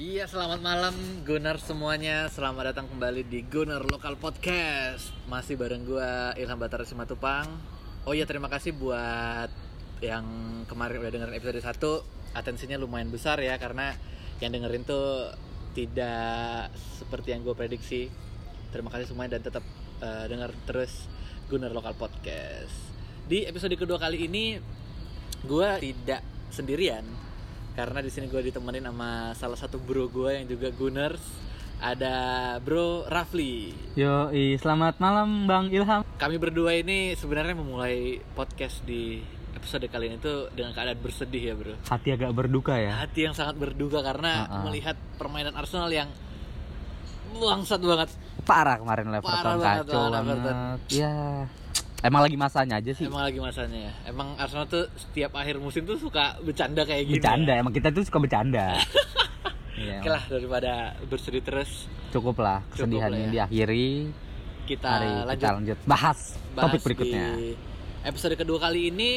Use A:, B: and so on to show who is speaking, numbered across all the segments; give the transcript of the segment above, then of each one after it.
A: Ya selamat malam Gunar semuanya Selamat datang kembali di Gunar Lokal Podcast Masih bareng gua Ilham Batara Simatupang Oh iya terima kasih buat yang kemarin udah dengerin episode 1 Atensinya lumayan besar ya Karena yang dengerin tuh tidak seperti yang gue prediksi Terima kasih semuanya dan tetap eh, denger terus Gunar Lokal Podcast Di episode kedua kali ini Gua tidak sendirian karena di sini gue ditemenin sama salah satu bro gue yang juga Gunners ada bro Rafli
B: Yo, selamat malam Bang Ilham.
A: kami berdua ini sebenarnya memulai podcast di episode kali ini tuh dengan keadaan bersedih ya bro
B: Hati agak berduka ya.
A: hati yang sangat berduka karena melihat permainan Arsenal yang bangsat banget
B: Parah kemarin Leverton
A: Parah banget
B: kacau
A: lawan
B: banget.
A: Everton.
B: Ya. Emang lagi masanya aja sih.
A: emang lagi masanya ya emang Arsenal tuh setiap akhir musim tuh suka bercanda kayak gini ya?
B: Bercanda, emang kita tuh suka bercanda. Iya,
A: Oke lah daripada bersedih terus
B: cukup lah kesedihan
A: lah
B: ini
A: ya.
B: diakhiri.
A: kita
B: Mari
A: lanjut
B: kita lanjut bahas,
A: bahas
B: topik berikutnya.
A: di episode kedua kali ini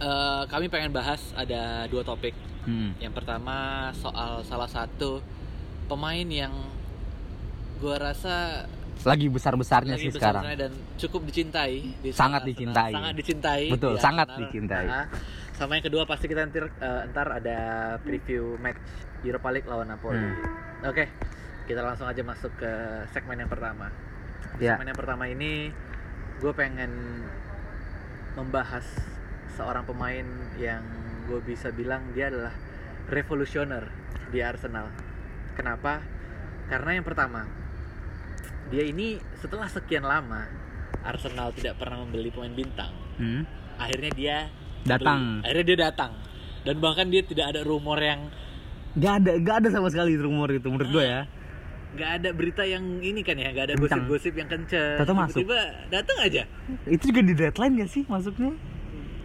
A: eh, kami pengen bahas ada dua topik.
B: Hmm.
A: Yang pertama soal salah satu pemain yang gua rasa
B: Lagi besar-besarnya
A: lagi
B: sih sekarang.
A: besar-besarnya dan cukup dicintai di Arsenal.
B: Sangat dicintai.
A: Sangat dicintai. Iya,
B: Betul,
A: di
B: sangat
A: Arsenal.
B: dicintai.
A: Ah, Sama yang kedua pasti kita ntar, eh, ntar ada preview match Europa League lawan Napoli.
B: Hmm.
A: Oke, kita langsung aja masuk ke segmen yang pertama. Di
B: Ya.
A: Segmen yang pertama ini gue pengen membahas seorang pemain yang gue bisa bilang dia adalah revolusioner di Arsenal. Kenapa? Karena yang pertama, dia ini setelah sekian lama Arsenal tidak pernah membeli pemain bintang.
B: Hmm.
A: Akhirnya dia
B: Datang.
A: beli. Akhirnya dia datang. Dan bahkan dia tidak ada rumor yang
B: Gak ada, gak ada sama sekali rumor itu menurut gue ya.
A: nggak ada berita yang ini kan ya, nggak ada
B: Kencang.
A: gosip-gosip yang kenceng.
B: Tahu-tahu masuk.
A: Tiba-tiba datang aja.
B: Itu juga di deadline gak sih masuknya?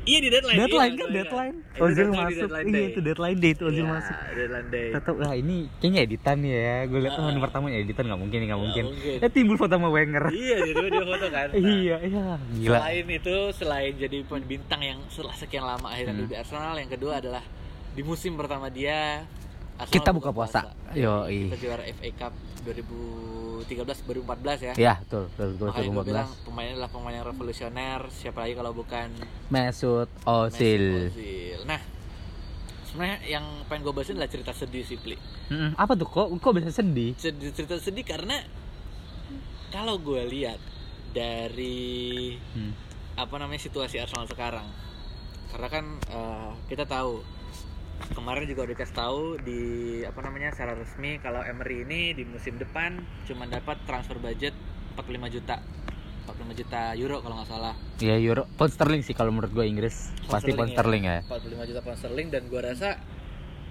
A: Iya di deadline. iya,
B: Deadline
A: gua
B: kan
A: ingat.
B: deadline.
A: Itu
B: Ozil
A: deadline di
B: masuk.
A: deadline
B: Iya
A: day.
B: itu deadline date Ozil
A: Iya,
B: masuk.
A: Deadline day.
B: tetap lah ini kayaknya editan nih ya gue liat oh, ini pertama editan nggak mungkin nggak mungkin
A: mungkin.
B: eh timbul foto sama Wenger
A: Iya, tiba-tiba dia foto kan. Nah,
B: iya iya gila
A: Selain itu, selain jadi pemain bintang yang setelah sekian lama akhirnya
B: Hmm.
A: duduk di Arsenal, yang kedua adalah di musim pertama dia Arsenal
B: kita buka puasa yo iya.
A: Kita juara FA Cup 2013 2014 ya.
B: ya betul betul
A: Makanya gue bilang
B: 2014
A: pemainnya adalah pemain yang revolusioner, siapa lagi kalau bukan Mesut
B: Mesut Ozil
A: Ozil. Nah, sebenarnya yang pengen gue bahasin adalah cerita sedih sih, Pli.
B: Mm-mm. apa tuh kok kok bisa sedih
A: Sedih- cerita sedih karena kalau gue lihat dari
B: Hmm.
A: apa namanya situasi Arsenal sekarang karena kan eh, kita tahu kemarin juga udah kasih tahu di apa namanya secara resmi kalau Emery ini di musim depan cuma dapat transfer budget 45 juta 45 juta euro kalau nggak salah
B: ya euro pound sterling sih kalau menurut gue Inggris pasti pound sterling ya
A: 45 juta pound sterling dan gua rasa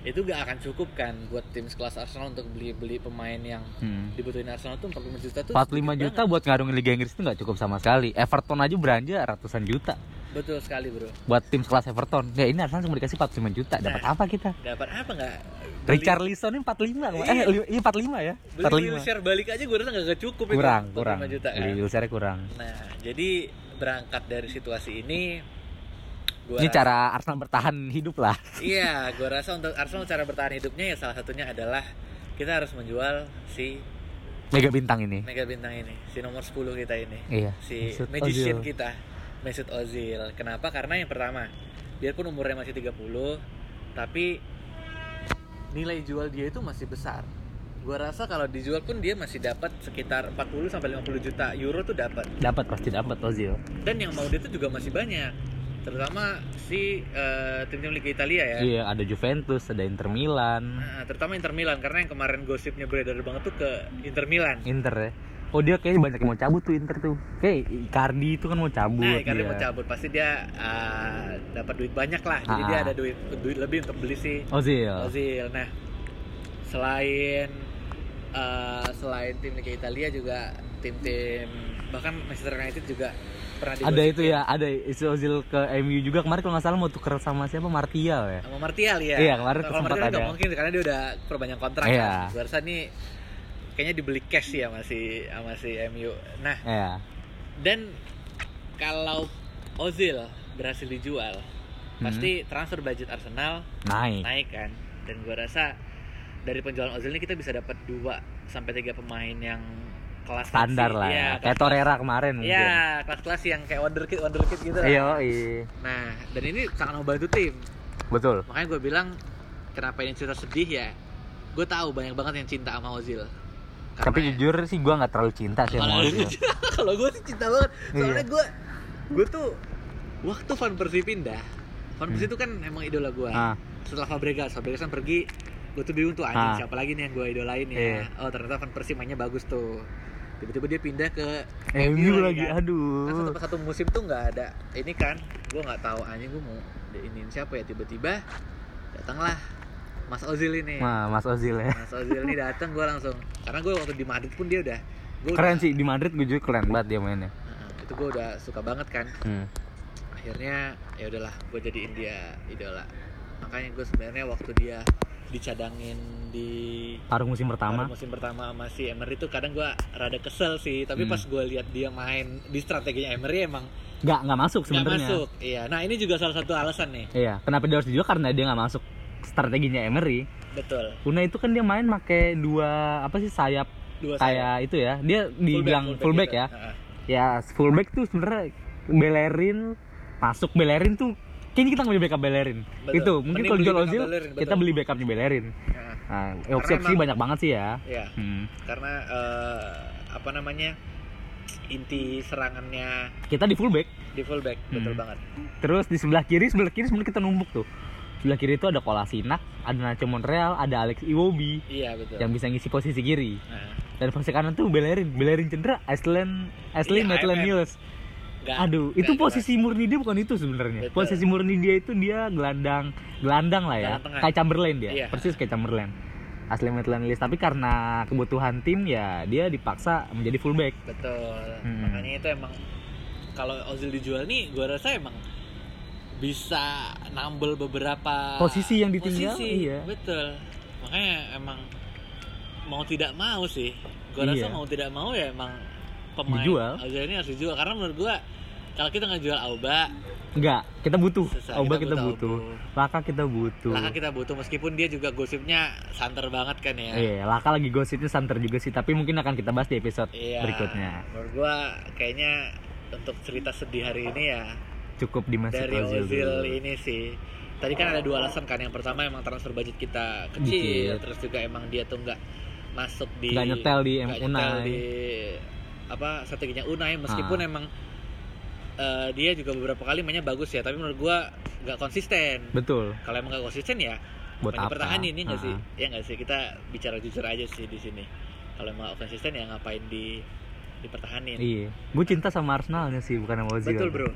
A: itu gak akan cukup kan buat tim sekelas Arsenal untuk beli-beli pemain yang
B: Hmm.
A: dibutuhin Arsenal tuh 45 juta tuh
B: 45
A: sedikit
B: juta buat ngarungin Liga Inggris itu nggak cukup sama sekali. Everton aja belanja ratusan juta
A: banget. betul sekali bro
B: buat tim kelas Everton. Ya ini Arsenal cuma dikasih 45 juta. Dapat apa kita?
A: dapat apa nggak Beli-
B: Richard Liston ini 45 eh li- iya 45 ya
A: beli wheelchair balik aja gue rasa nggak cukup itu,
B: kurang
A: 45
B: kurang
A: juta kan
B: beli wheelchairnya kurang
A: nah jadi berangkat dari situasi ini gua
B: ini
A: rasa-
B: cara Arsenal bertahan hidup lah
A: iya gue rasa untuk Arsenal cara bertahan hidupnya ya salah satunya adalah kita harus menjual si
B: mega bintang ini
A: mega bintang ini si nomor 10 kita ini
B: iya
A: si
B: Mesut
A: magician
B: Ozil.
A: kita Mesut Ozil kenapa karena yang pertama biarpun umurnya masih 30 tapi nilai jual dia itu masih besar gue rasa kalau dijual pun dia masih dapat sekitar 40 sampai 50 juta euro tuh dapat
B: dapat pasti dapat Ozil
A: dan yang mau dia tuh juga masih banyak terutama si eh, tim-tim Liga Italia ya
B: iya ada Juventus ada Inter Milan
A: Nah, terutama Inter Milan karena yang kemarin gosipnya beredar banget tuh ke Inter Milan
B: Inter ya oh dia kayaknya banyak yang mau cabut tuh Inter tuh kayak Icardi itu kan mau cabut
A: Nah, karena
B: dia.
A: mau cabut pasti dia eh, dapat duit banyak lah. Jadi
B: Ah.
A: dia ada duit duit lebih untuk beli si
B: Ozil
A: Ozil. Nah, selain eh, selain tim Liga Italia juga tim-tim bahkan Manchester United juga pernah
B: ada
A: digosipin.
B: itu ya ada isu Ozil ke MU juga kemarin kalau nggak salah mau tuker sama siapa Martial ya
A: sama Martial ya.
B: Iya, kemarin
A: Kalau
B: sempat
A: Martial nggak
B: ada.
A: mungkin karena dia udah perbanyak kontrak.
B: Iya.
A: kan. Gua rasa nih kayaknya dibeli cash ya masih sama si MU. Nah,
B: Iya
A: Dan kalau Ozil berhasil dijual,
B: Hmm.
A: pasti transfer budget Arsenal
B: naik
A: naik kan. Dan gua rasa dari penjualan Ozil ini kita bisa dapat 2 sampai 3 pemain yang kelas
B: standar
A: sih.
B: lah
A: Iya,
B: ya. kayak
A: kelas-
B: Torreira kemarin mungkin
A: Iya, kelas-kelas yang kayak wonderkid wonderkid gitu. lah.
B: iya iya.
A: Nah, dan ini sangat membantu tim.
B: betul
A: Makanya gue bilang kenapa ini cerita sedih ya? Gue tahu banyak banget yang cinta sama Ozil. Karena-
B: tapi jujur sih gua nggak terlalu cinta sih sama
A: kalau
B: Ozil
A: kalau gue sih cinta banget. Soalnya
B: Iya.
A: gue gue tuh waktu Van Persie pindah, Van Persie
B: Hmm.
A: itu kan emang idola gue.
B: Ah,
A: Setelah Fabregas, Fabregas kan pergi, gue tuh bingung tuh anjing
B: Ah.
A: siapa lagi nih yang gue idolain ya.
B: Iya.
A: Oh ternyata Van Persie mainnya bagus tuh. Tiba-tiba dia pindah ke
B: MU
A: lagi
B: Eh, lagi
A: kan? kan
B: aduh
A: satu, satu musim tuh nggak ada ini kan gue nggak tahu anjing gue mau diinin siapa ya tiba-tiba datanglah Mas Ozil ini
B: nah Mas Ozil ya
A: Mas Ozil ini datang gue langsung karena gue waktu di Madrid pun dia udah gua udah-
B: keren sih di Madrid gue juga keren banget dia mainnya
A: Heeh, itu gue udah suka banget kan
B: hmm.
A: akhirnya ya udahlah gue jadiin dia idola makanya gue sebenarnya waktu dia dicadangin di
B: paruh musim pertama
A: baru musim pertama sama si Emery itu kadang gue rada kesel sih tapi
B: Hmm.
A: pas gue lihat dia main di strateginya Emery emang
B: nggak nggak masuk
A: nggak
B: sebenarnya
A: masuk iya nah ini juga salah satu alasan nih
B: iya kenapa dia harus dijual karena dia nggak masuk strateginya Emery
A: betul
B: Una itu kan dia main make dua apa sih sayap
A: dua sayap.
B: kayak itu ya dia dibilang fullback, ya
A: gitu. Heeh.
B: ya fullback tuh sebenarnya belerin masuk belerin tuh kayaknya kita nggak beli backup belerin
A: Betul.
B: itu mungkin
A: Mending
B: kalau
A: beli
B: jual
A: backup
B: Ozil
A: Bellerin, betul.
B: kita beli backupnya belerin
A: Heeh.
B: nah
A: Karena
B: opsi opsi
A: emang-
B: banyak banget sih ya
A: Iya,
B: Hmm.
A: karena eh, apa namanya inti serangannya
B: kita di fullback
A: di fullback betul
B: Hmm.
A: banget
B: terus di sebelah kiri sebelah kiri sebenarnya kita numpuk tuh sebelah kiri itu ada Kolasinak ada Nacho Monreal ada Alex Iwobi
A: iya betul
B: yang bisa ngisi posisi kiri
A: nah,
B: dan posisi kanan tuh belerin belerin cedera Iceland Iceland
A: Iya,
B: Maitland
A: IMF.
B: Niles
A: nggak-
B: Aduh,
A: nggak
B: itu
A: jelas.
B: posisi murni dia bukan itu sebenarnya.
A: iya. Betul.
B: Posisi murni dia itu dia gelandang, gelandang lah ya.
A: Gelandang tengah.
B: Kayak Chamberlain dia,
A: Iya.
B: persis kayak Chamberlain. Asli Maitland Niles, tapi karena kebutuhan tim ya dia dipaksa menjadi fullback.
A: betul
B: Hmm.
A: makanya itu emang kalau Ozil dijual nih gua rasa emang bisa nambel beberapa
B: Posisi yang ditinggal,
A: posisi.
B: iya.
A: betul makanya emang mau tidak mau sih gua rasa
B: Iya.
A: mau tidak mau ya emang pemain
B: Dijual.
A: Ozil ini harus dijual karena menurut gua kalau kita nggak jual Auba
B: Enggak, kita butuh.
A: Susah,
B: Oba
A: kita
B: Uh, kita,
A: butuh
B: butuh. Laka kita butuh.
A: Laka kita butuh meskipun dia juga gosipnya santer banget kan ya.
B: Iya, Laka lagi gosipnya santer juga sih, tapi mungkin akan kita bahas di episode
A: Iya.
B: berikutnya.
A: Menurut gua kayaknya untuk cerita sedih hari ini ya
B: Cukup dimasuk
A: dari
B: Ozil.
A: Ozil,
B: dulu.
A: ini sih. Tadi kan ada dua alasan kan. Yang pertama emang transfer budget kita kecil,
B: Dikit.
A: terus juga emang dia tuh nggak masuk di
B: Nggak nyetel di
A: nggak
B: M.
A: nyetel
B: Unai.
A: di apa strateginya Unai meskipun
B: Ah.
A: emang eh, dia juga beberapa kali mainnya bagus ya, tapi menurut gua nggak konsisten.
B: Betul.
A: Kalau emang nggak konsisten ya Makanya
B: Buat apa?
A: pertahanan ini nggak sih
B: Ah,
A: ya nggak sih kita bicara jujur aja sih di sini kalau emang konsisten ya ngapain di dipertahanin
B: Iya. Gue cinta sama Arsenalnya sih, bukan sama Ozil.
A: betul bro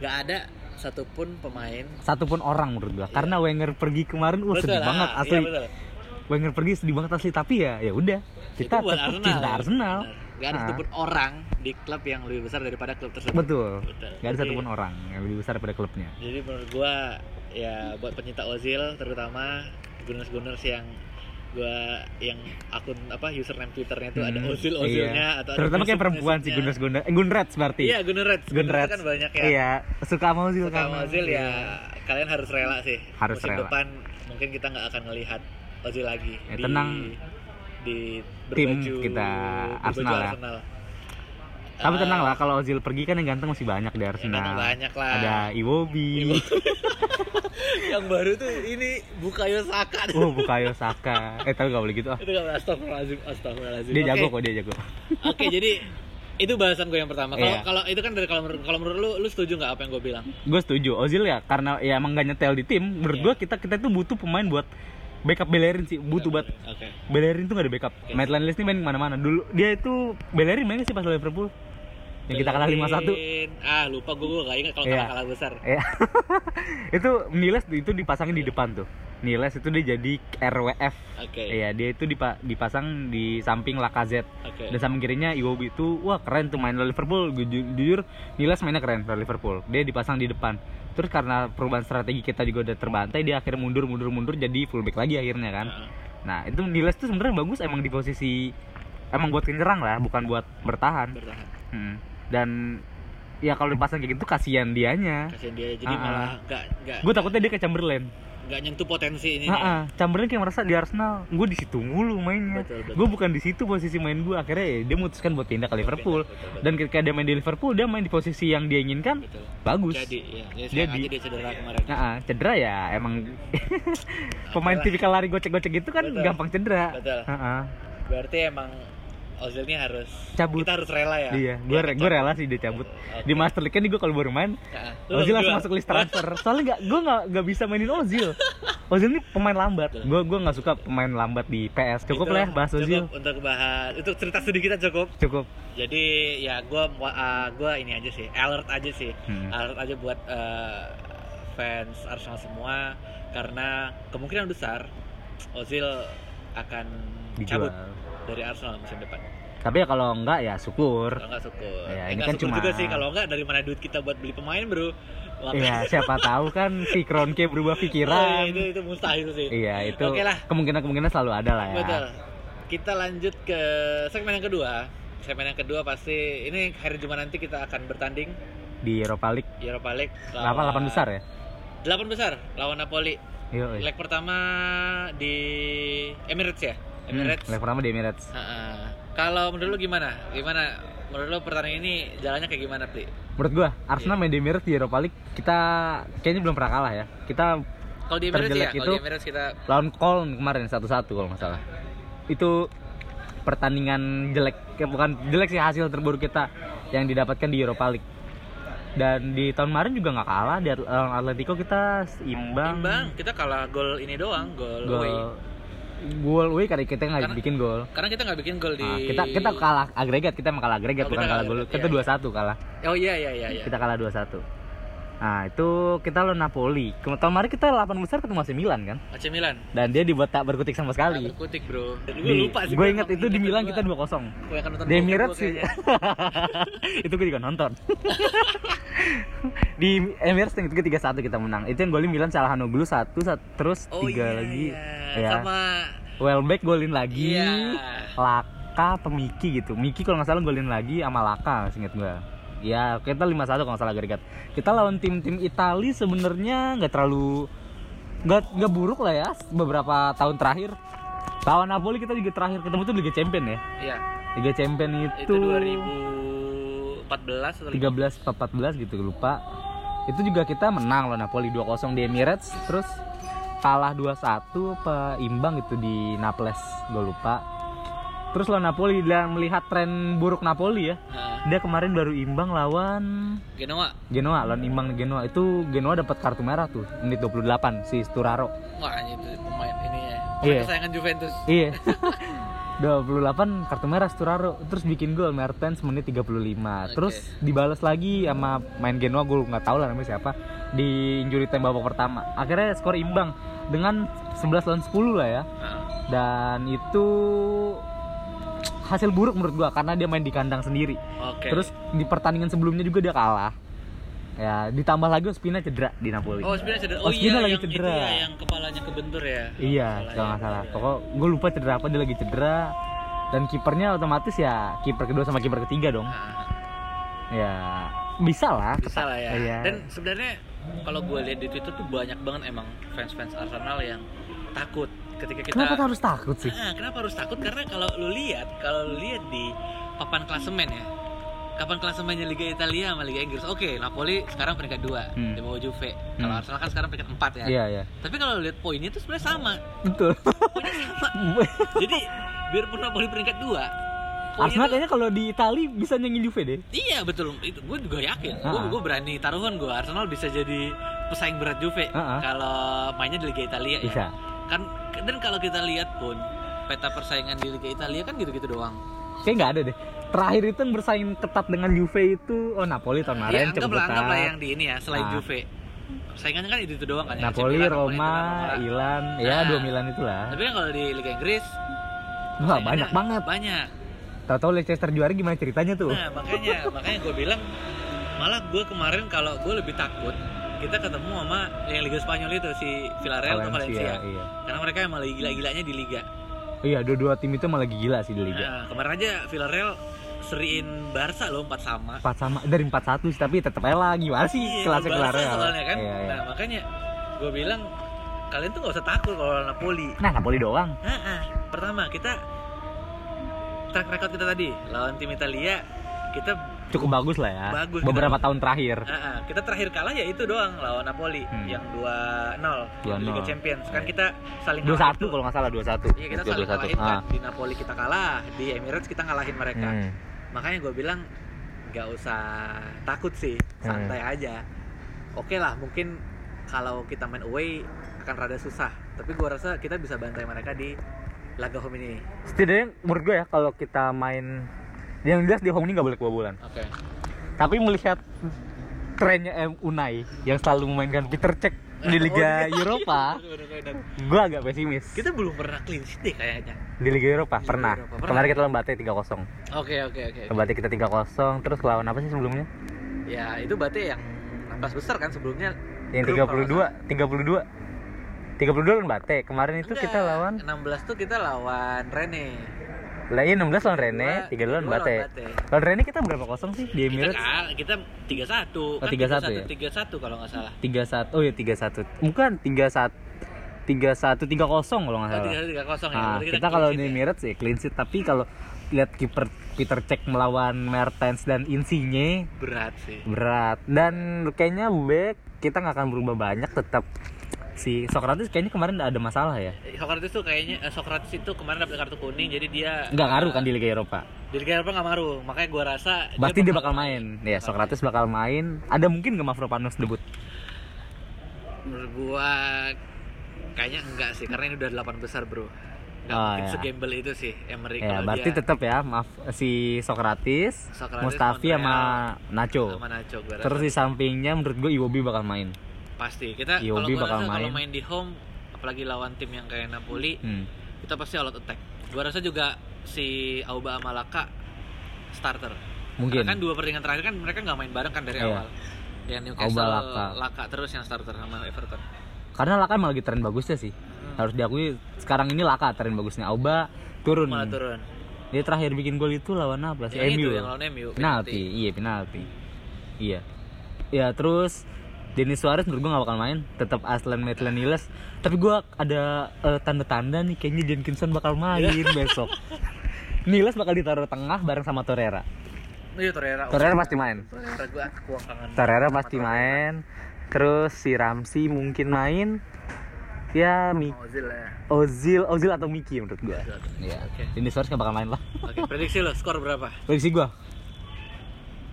A: nggak ada satupun pemain
B: satupun orang menurut gua karena Wenger pergi kemarin wah sedih
A: ah,
B: banget
A: iya,
B: asli
A: betul.
B: Wenger pergi sedih banget asli tapi ya ya udah
A: Itu
B: kita
A: buat
B: tetap cinta Arsenal
A: Benar. nggak ada
B: Ah.
A: satupun orang di klub yang lebih besar daripada klub tersebut
B: betul
A: Betul.
B: nggak ada
A: Jadi-
B: satupun orang yang lebih besar daripada klubnya
A: jadi menurut gua ya buat pencinta Ozil terutama gunners-gunners yang gua yang akun apa username twitternya tuh ada
B: Hmm,
A: Ozil
B: iya.
A: Ozilnya atau ada
B: terutama kayak perempuan sih
A: Gunners-Gunnersnya.
B: Gunners Gunners eh, Gunrats berarti
A: iya Gunners Gunners
B: Gunners.
A: kan banyak ya
B: iya suka sama Ozil kan.
A: Suka sama
B: karena-
A: Ozil ya kalian harus rela sih.
B: Iya. Harus
A: Musim
B: rela.
A: depan mungkin kita nggak akan ngelihat Ozil lagi.
B: Ya, tenang.
A: di
B: Tim
A: berbaju,
B: kita,
A: berbaju
B: Arsenal ya.
A: Arsenal.
B: tapi
A: Eh,
B: tenang lah kalau Ozil pergi kan yang ganteng masih banyak di
A: yang datang
B: Arsenal
A: banyak lah.
B: ada Iwobi
A: yang baru tuh ini Bukayo Saka.
B: oh Bukayo Saka eh tapi gak boleh gitu ah
A: Itu kan astagfirullahalazim, astagfirullahalazim.
B: dia
A: Oke.
B: jago kok dia jago
A: Oke, jadi itu bahasan gue yang pertama. Kalau
B: Iya.
A: kalau itu kan dari kalau menurut kalau menurut lu lu setuju nggak apa yang gue bilang?
B: gue setuju Ozil ya karena ya emang gak nyetel di tim menurut
A: Iya.
B: gue kita kita tuh butuh pemain buat backup Bellerin sih butuh buat
A: Oke.
B: Bellerin tuh gak ada backup
A: Oke.
B: Maitland Niles ini main kemana-mana dulu dia itu Bellerin main sih pas lawan Liverpool yang kita kalah 5-1
A: Bellerin. Ah, lupa gue gue gak ingat kalau
B: Iya.
A: kalah kalah besar.
B: ya itu Niles itu dipasangin di depan tuh Niles itu dia jadi RWF
A: Oke.
B: Iya, dia itu dipa- dipasang di samping Lacazette
A: Oke.
B: dan samping kirinya Iwobi itu wah keren tuh main lawan Liverpool Gu- ju- jujur Niles mainnya keren lawan Liverpool dia dipasang di depan terus karena perubahan strategi kita juga udah terbantai dia akhirnya mundur mundur mundur jadi fullback lagi akhirnya kan
A: Heeh.
B: nah itu Niles tuh sebenarnya bagus emang di posisi emang buat menyerang lah bukan buat bertahan
A: bertahan
B: Hmm. dan ya kalau dipasang kayak gitu kasihan dianya
A: kasihan dia jadi
B: Ah, ah.
A: malah nggak nggak
B: gue takutnya dia ke Chamberlain
A: nggak nyentuh potensi ini.
B: Nah, ah, Chamberlain kayak merasa di Arsenal, gue di situ mulu mainnya.
A: Betul, betul.
B: Gue bukan di situ posisi main gue. Akhirnya ya, dia memutuskan buat pindah ke Liverpool.
A: betul, betul.
B: Dan ketika dia main di Liverpool, dia main di posisi yang dia inginkan.
A: Betul.
B: Bagus.
A: Jadi, ya. Jadi, sekarang
B: Jadi.
A: aja dia cedera kemarin.
B: Nah, ah, cedera ya emang pemain
A: Apalah.
B: tipikal lari gocek-gocek gitu kan
A: Betul.
B: gampang cedera.
A: Betul.
B: Ah, ah.
A: Berarti emang Ozil ini harus
B: Cabut.
A: Kita harus rela ya.
B: Iya, gue
A: Dia
B: gue
A: kecap.
B: rela sih dia cabut.
A: Oke.
B: Di Master League kan gue kalau baru main,
A: Nah, lu
B: Ozil langsung
A: jual.
B: masuk list transfer. Soalnya nggak, gue nggak nggak bisa mainin Ozil. Ozil ini pemain lambat.
A: Betul.
B: Gue gue nggak suka pemain lambat di PS. Cukup
A: Itu
B: lah ya bahas Ozil.
A: Cukup untuk bahas. Itu cerita sedikit aja cukup.
B: Cukup.
A: Jadi ya gue gua ini aja sih, alert aja sih,
B: Hmm.
A: alert aja buat eh, fans Arsenal semua karena kemungkinan besar Ozil akan cabut
B: Dijual.
A: dari Arsenal musim depan.
B: Tapi ya kalau enggak ya syukur.
A: Kalau nggak syukur,
B: Ya,
A: Eh,
B: ini
A: nggak
B: kan
A: syukur
B: cuma-
A: juga sih kalau nggak dari mana duit kita buat beli pemain bro?
B: Iya, siapa tahu kan si Kronke berubah
A: Iya,
B: pikiran.
A: itu itu mustahil sih.
B: Iya, itu
A: Oke lah.
B: kemungkinan-kemungkinan selalu ada lah ya.
A: Betul. Kita lanjut ke segmen yang kedua. Segmen yang kedua pasti ini hari Jumat nanti kita akan bertanding
B: Di Europa League
A: Europa League.
B: apa
A: lawan-
B: delapan besar ya?
A: 8 besar lawan Napoli.
B: Yo.
A: Leg pertama di Emirates ya. Emirates.
B: Hmm, leg pertama di Emirates.
A: Ha-ha. Kalau menurut lu gimana? Gimana? Menurut lu pertandingan ini jalannya kayak gimana, Pli?
B: Menurut gua Arsenal
A: Iya.
B: main di Emirates di Europa League kita kayaknya belum pernah kalah ya. Kita
A: Kalau di Emirates
B: Terjelek
A: ya, kalau
B: itu-
A: di Emirates kita
B: lawan Köln kemarin satu-satu kalau nggak salah itu pertandingan jelek eh, bukan jelek sih hasil terburuk kita yang didapatkan di Europa League dan di tahun kemarin juga nggak kalah di At- lawan Atletico kita imbang,
A: imbang, kita kalah gol ini doang, gol
B: gol
A: away.
B: gol away karena kita nggak
A: Karena-
B: bikin gol
A: Karena kita nggak bikin gol di
B: Nah, kita kita kalah agregat kita emang kalah agregat
A: Oh,
B: bukan
A: kita
B: kalah
A: kalah
B: gol
A: agregat,
B: kita
A: iya,
B: dua satu kalah
A: Oh iya iya iya iya.
B: kita kalah 2-1 nah itu kita lawan Napoli Kem- tahun kemarin kita 8 besar ketemu AC Milan kan
A: AC Milan.
B: dan dia dibuat tak berkutik sama sekali
A: Kali. Kutik, Bro. Dan gue
B: Di-
A: lupa sih. gua
B: Gue inget
A: nonton
B: itu di
A: ingat
B: Milan
A: gua.
B: kita 2-0.
A: Gue akan nonton
B: Di
A: bokep
B: Emirates
A: gua
B: sih.
A: kayaknya.
B: itu gue juga nonton. di Emirates yang ketiga 3-1 kita menang. Itu yang golin Milan Calhanoglu 1, terus
A: Oh iya,
B: tiga lagi.
A: Iya.
B: Ya.
A: Sama
B: Welbeck golin lagi.
A: Iya.
B: Laka atau Miki gitu. Miki kalau nggak salah golin lagi sama Laka seinget gue. Ya kita 5-1 kalau nggak salah agregat. Kita lawan tim-tim Itali sebenarnya nggak terlalu nggak nggak buruk lah ya beberapa tahun terakhir. Lawan Napoli kita juga terakhir ketemu tuh Liga Champion ya.
A: iya.
B: Liga Champion itu,
A: Itu 2014 atau
B: 13 14 gitu lupa. Itu juga kita menang lawan Napoli 2-0 di Emirates terus kalah 2-1 apa imbang gitu di Naples gue lupa. Terus lawan Napoli dan melihat tren buruk Napoli ya.
A: Nah,
B: Dia kemarin baru imbang lawan
A: Genoa.
B: Genoa, lawan imbang Genoa itu Genoa dapat kartu merah tuh menit 28 si Sturaro.
A: Wah, itu pemain ini ya.
B: Iya.
A: Pemain kesayangan Juventus.
B: Iya. 28 kartu merah Sturaro terus bikin gol Mertens menit 35. Terus dibalas lagi sama main Genoa gue nggak tahu lah namanya siapa di injury time babak pertama. Akhirnya skor imbang dengan 11 lawan 10 lah ya.
A: Nah,
B: Dan itu hasil buruk menurut gua karena dia main di kandang sendiri.
A: Oke.
B: Terus di pertandingan sebelumnya juga dia kalah. Ya, ditambah lagi Ospina cedera di Napoli.
A: Oh, sebenarnya cedera. Oh,
B: Ospina
A: iya,
B: lagi
A: yang
B: cedera.
A: itu ya yang kepalanya kebentur ya.
B: Iya, kalau nggak salah. Pokok gue lupa cedera apa dia lagi cedera dan kipernya otomatis ya kiper kedua sama kiper ketiga dong. Ya bisa lah.
A: Ah, Bisa lah ya.
B: Iya.
A: Dan sebenarnya kalau gue lihat di Twitter tuh banyak banget emang fans-fans Arsenal yang takut ketika kita
B: Kenapa tuh harus takut sih?
A: Ah, kenapa harus takut? Karena kalau lu lihat, kalau lu lihat di papan klasemen ya. Kapan klasemennya Liga Italia sama Liga Inggris? Oke, Napoli sekarang peringkat 2
B: Hmm.
A: di bawah Juve. Kalau
B: Hmm.
A: Arsenal kan sekarang peringkat 4 ya.
B: Iya iya
A: Tapi kalau lu lihat poinnya itu sebenarnya sama.
B: betul.
A: Poinnya sama. Jadi biarpun Napoli peringkat 2
B: Arsenal kayaknya kalau di Itali bisa nyengin Juve deh.
A: Iya betul, itu gue juga yakin. Gue
B: Ah.
A: gue berani taruhan gue Arsenal bisa jadi pesaing berat Juve
B: Ah, ah.
A: kalau mainnya di Liga Italia ya.
B: Bisa.
A: Kan dan kalau kita lihat pun peta persaingan di Liga Italia kan gitu-gitu doang.
B: Kayak nggak ada deh. Terakhir itu yang bersaing ketat dengan Juve itu oh Napoli
A: Iya,
B: tahun kemarin cukup
A: anggaplah, anggaplah
B: ketat.
A: yang di ini ya, selain
B: Ah.
A: Juve. Saingannya kan itu, itu doang kan ya.
B: Napoli,
A: AC Milan,
B: Roma,
A: Milan, Roma.
B: Milan, ya
A: Nah.
B: dua Milan itulah.
A: Tapi kan kalau di Liga Inggris
B: Wah
A: saingannya
B: banyak banget.
A: Banyak.
B: Tahu-tahu Leicester juara gimana ceritanya tuh?
A: Nah, makanya makanya gue bilang malah gue kemarin kalau gue lebih takut kita ketemu sama yang Liga Spanyol itu si Villarreal atau Valencia.
B: iya.
A: Karena mereka emang lagi gila-gilanya di liga.
B: Iya, dua-dua tim itu emang lagi gila sih di liga.
A: Nah, kemarin aja Villarreal seriin Barca loh 4 sama.
B: Empat sama dari 4-1 sih, tapi tetap aja lah gimana sih
A: Iya,
B: kelasnya
A: Barca
B: kelar ya.
A: soalnya kan.
B: Iya, iya.
A: Nah, makanya gue bilang kalian tuh nggak usah takut kalau lawan Napoli.
B: Nah, Napoli doang.
A: Nah, pertama kita track record kita tadi lawan tim Italia kita
B: Cukup bagus lah ya.
A: Bagus,
B: Beberapa
A: benar.
B: tahun terakhir.
A: ah, ah, kita terakhir kalah ya itu doang lawan Napoli
B: Hmm.
A: yang 2-0 di Liga
B: 2-0.
A: Champions. Kan kita saling
B: dua
A: kalah
B: satu kalau nggak salah dua satu Ah.
A: Iya kita saling kalahin kan di Napoli kita kalah, di Emirates kita ngalahin mereka.
B: Hmm.
A: Makanya gue bilang nggak usah takut sih,
B: Hmm.
A: santai aja. Oke lah, mungkin kalau kita main away akan rada susah. Tapi gue rasa kita bisa bantai mereka di laga home ini.
B: setidaknya menurut gue ya kalau kita main yang jelas di home ini nggak boleh kebobolan
A: Oke.
B: tapi melihat trennya M Unai yang selalu memainkan Peter Cech di
A: Oh,
B: Liga Eropa gue agak pesimis
A: iya. Kita belum pernah clean sheet deh kayaknya.
B: di Liga Eropa
A: Liga
B: pernah
A: Eropa, pernah.
B: kemarin kita lawan Bate 3-0
A: Oke oke oke.
B: Bate kita 3-0 terus lawan apa sih sebelumnya
A: Ya itu berarti yang 16 besar kan sebelumnya.
B: yang
A: Grup kalau
B: 32 32 32 lawan Bate kemarin itu kita
A: Enggak,
B: lawan
A: 16 tuh kita lawan Rene.
B: lah iya 16 lawan Rene
A: Dua-
B: 3 lawan
A: dua
B: Bate lawan Rene kita berapa kosong sih di
A: Kita,
B: Emirates
A: kal- kita Kan 31
B: Oh, 31 ya?
A: 31 kalau nggak salah.
B: tiga satu oh ya tiga satu bukan tiga satu tiga satu tiga kosong kalau nggak
A: Oh,
B: salah
A: 31 30 ya.
B: Nah,
A: Berarti
B: kita
A: clean
B: kalau
A: sheet
B: di
A: ya.
B: Emirates ya clean sheet tapi kalau lihat kiper Peter Cech melawan Mertens dan Insigne
A: berat sih.
B: berat dan kayaknya back kita nggak akan berubah banyak tetap si Socrates kayaknya kemarin nggak ada masalah ya
A: Eh, Socrates tuh kayaknya eh, Socrates itu kemarin dapat kartu kuning jadi dia
B: nggak ngaruh kan di Liga Eropa
A: Di Liga Eropa nggak ngaruh. Makanya gua rasa
B: pasti dia bakal main ya Socrates bakal main ada mungkin nggak Mavropanos debut
A: Menurut gua kayaknya enggak sih karena ini udah 8 besar, Bro. Nggak
B: Oh,
A: mungkin
B: ya.
A: segembel itu sih Emery
B: ya
A: kalau
B: berarti
A: dia
B: tetap ya maaf si Socrates,
A: iya. Socrates,
B: Mustafi sama Nacho
A: sama Nacho gua rasa.
B: Terus di sampingnya menurut gue Iwobi bakal main.
A: pasti kita
B: Iwobi
A: kalau gua
B: bakal
A: rasa kalau
B: main.
A: main di home apalagi lawan tim yang kayak Napoli
B: Hmm.
A: kita pasti all out attack. Gua rasa juga si Auba sama Laka starter.
B: Mungkin.
A: Karena kan dua pertandingan terakhir kan mereka nggak main bareng kan dari
B: Iya.
A: awal. Yang Newcastle
B: Auba,
A: Laka.
B: Laka.
A: terus yang starter sama Everton.
B: Karena Laka emang lagi tren bagusnya sih.
A: Hmm.
B: Harus diakui sekarang ini Laka tren bagusnya. Auba turun.
A: Malah turun.
B: Dia terakhir bikin gol itu lawan apa sih? ya?
A: Yang itu
B: MU.
A: yang lawan MU.
B: penalti. Iya, penalti. Iya. Ya, terus Denis Suarez menurut gue gak bakal main Tetap Aslan Maitland Niles Tapi gue ada eh, tanda-tanda nih Kayaknya Jenkinson bakal main besok Niles bakal ditaruh tengah bareng sama Torreira
A: Iya Torreira.
B: Torreira pasti main
A: Torreira gua kuang kangen.
B: Torreira pasti main terus si Ramsey mungkin main ya Mi
A: Ozil ya.
B: Ozil Ozil atau Miki menurut gua Iya.
A: Oke.
B: Ini Suarez nggak bakal main lah.
A: Oke, prediksi lo skor berapa?
B: Prediksi gua.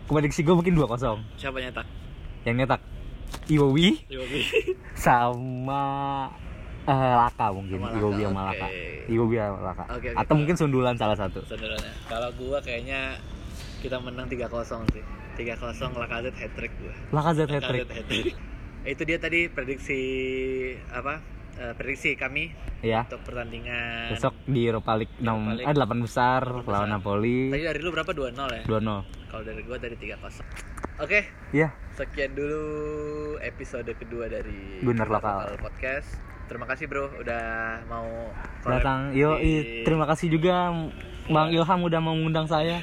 B: Prediksi gua mungkin 2-0.
A: Siapa nyetak?
B: Yang nyetak Iwobi
A: Iwobi.
B: sama eh, Laka mungkin.
A: Sama Laka,
B: Iwobi sama
A: oke.
B: Laka. Iwobi sama Laka.
A: Oke, oke.
B: atau mungkin sundulan salah satu.
A: Sebenarnya kalau gua kayaknya kita menang 3-0 sih. 3-0 Lacazette hat trick gua.
B: Laka Z hat
A: Target hat-trick. Itu dia tadi prediksi apa? eh, prediksi kami
B: ya.
A: untuk pertandingan.
B: Besok di Europa League 6
A: League.
B: eh 8 besar
A: Delapan besar.
B: lawan Napoli
A: Tadi dari lu berapa 2-0 ya?
B: 2-0.
A: Kalau dari gua tadi 3-0. Oke,
B: Iya.
A: sekian dulu episode kedua dari
B: Gunar Lokal.
A: Podcast. Terima kasih bro udah mau collab
B: datang yo
A: di-
B: i- terima kasih juga Bang Ilham udah mau mengundang saya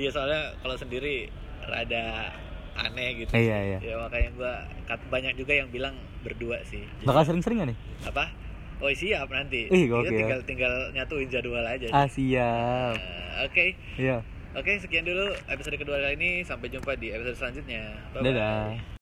A: Iya soalnya kalau sendiri rada aneh gitu.
B: iya iya
A: Ya makanya gua kat- banyak juga yang bilang berdua sih. Jadi,
B: bakal sering-sering gak nih
A: apa? Oh siap nanti.
B: Ih,
A: Kita
B: gokil.
A: tinggal tinggal nyatuin jadwal aja.
B: ah siap
A: Eh, Oke,
B: iya
A: oke sekian dulu episode kedua kali ini. Sampai jumpa di episode selanjutnya. Bye-bye.
B: dadah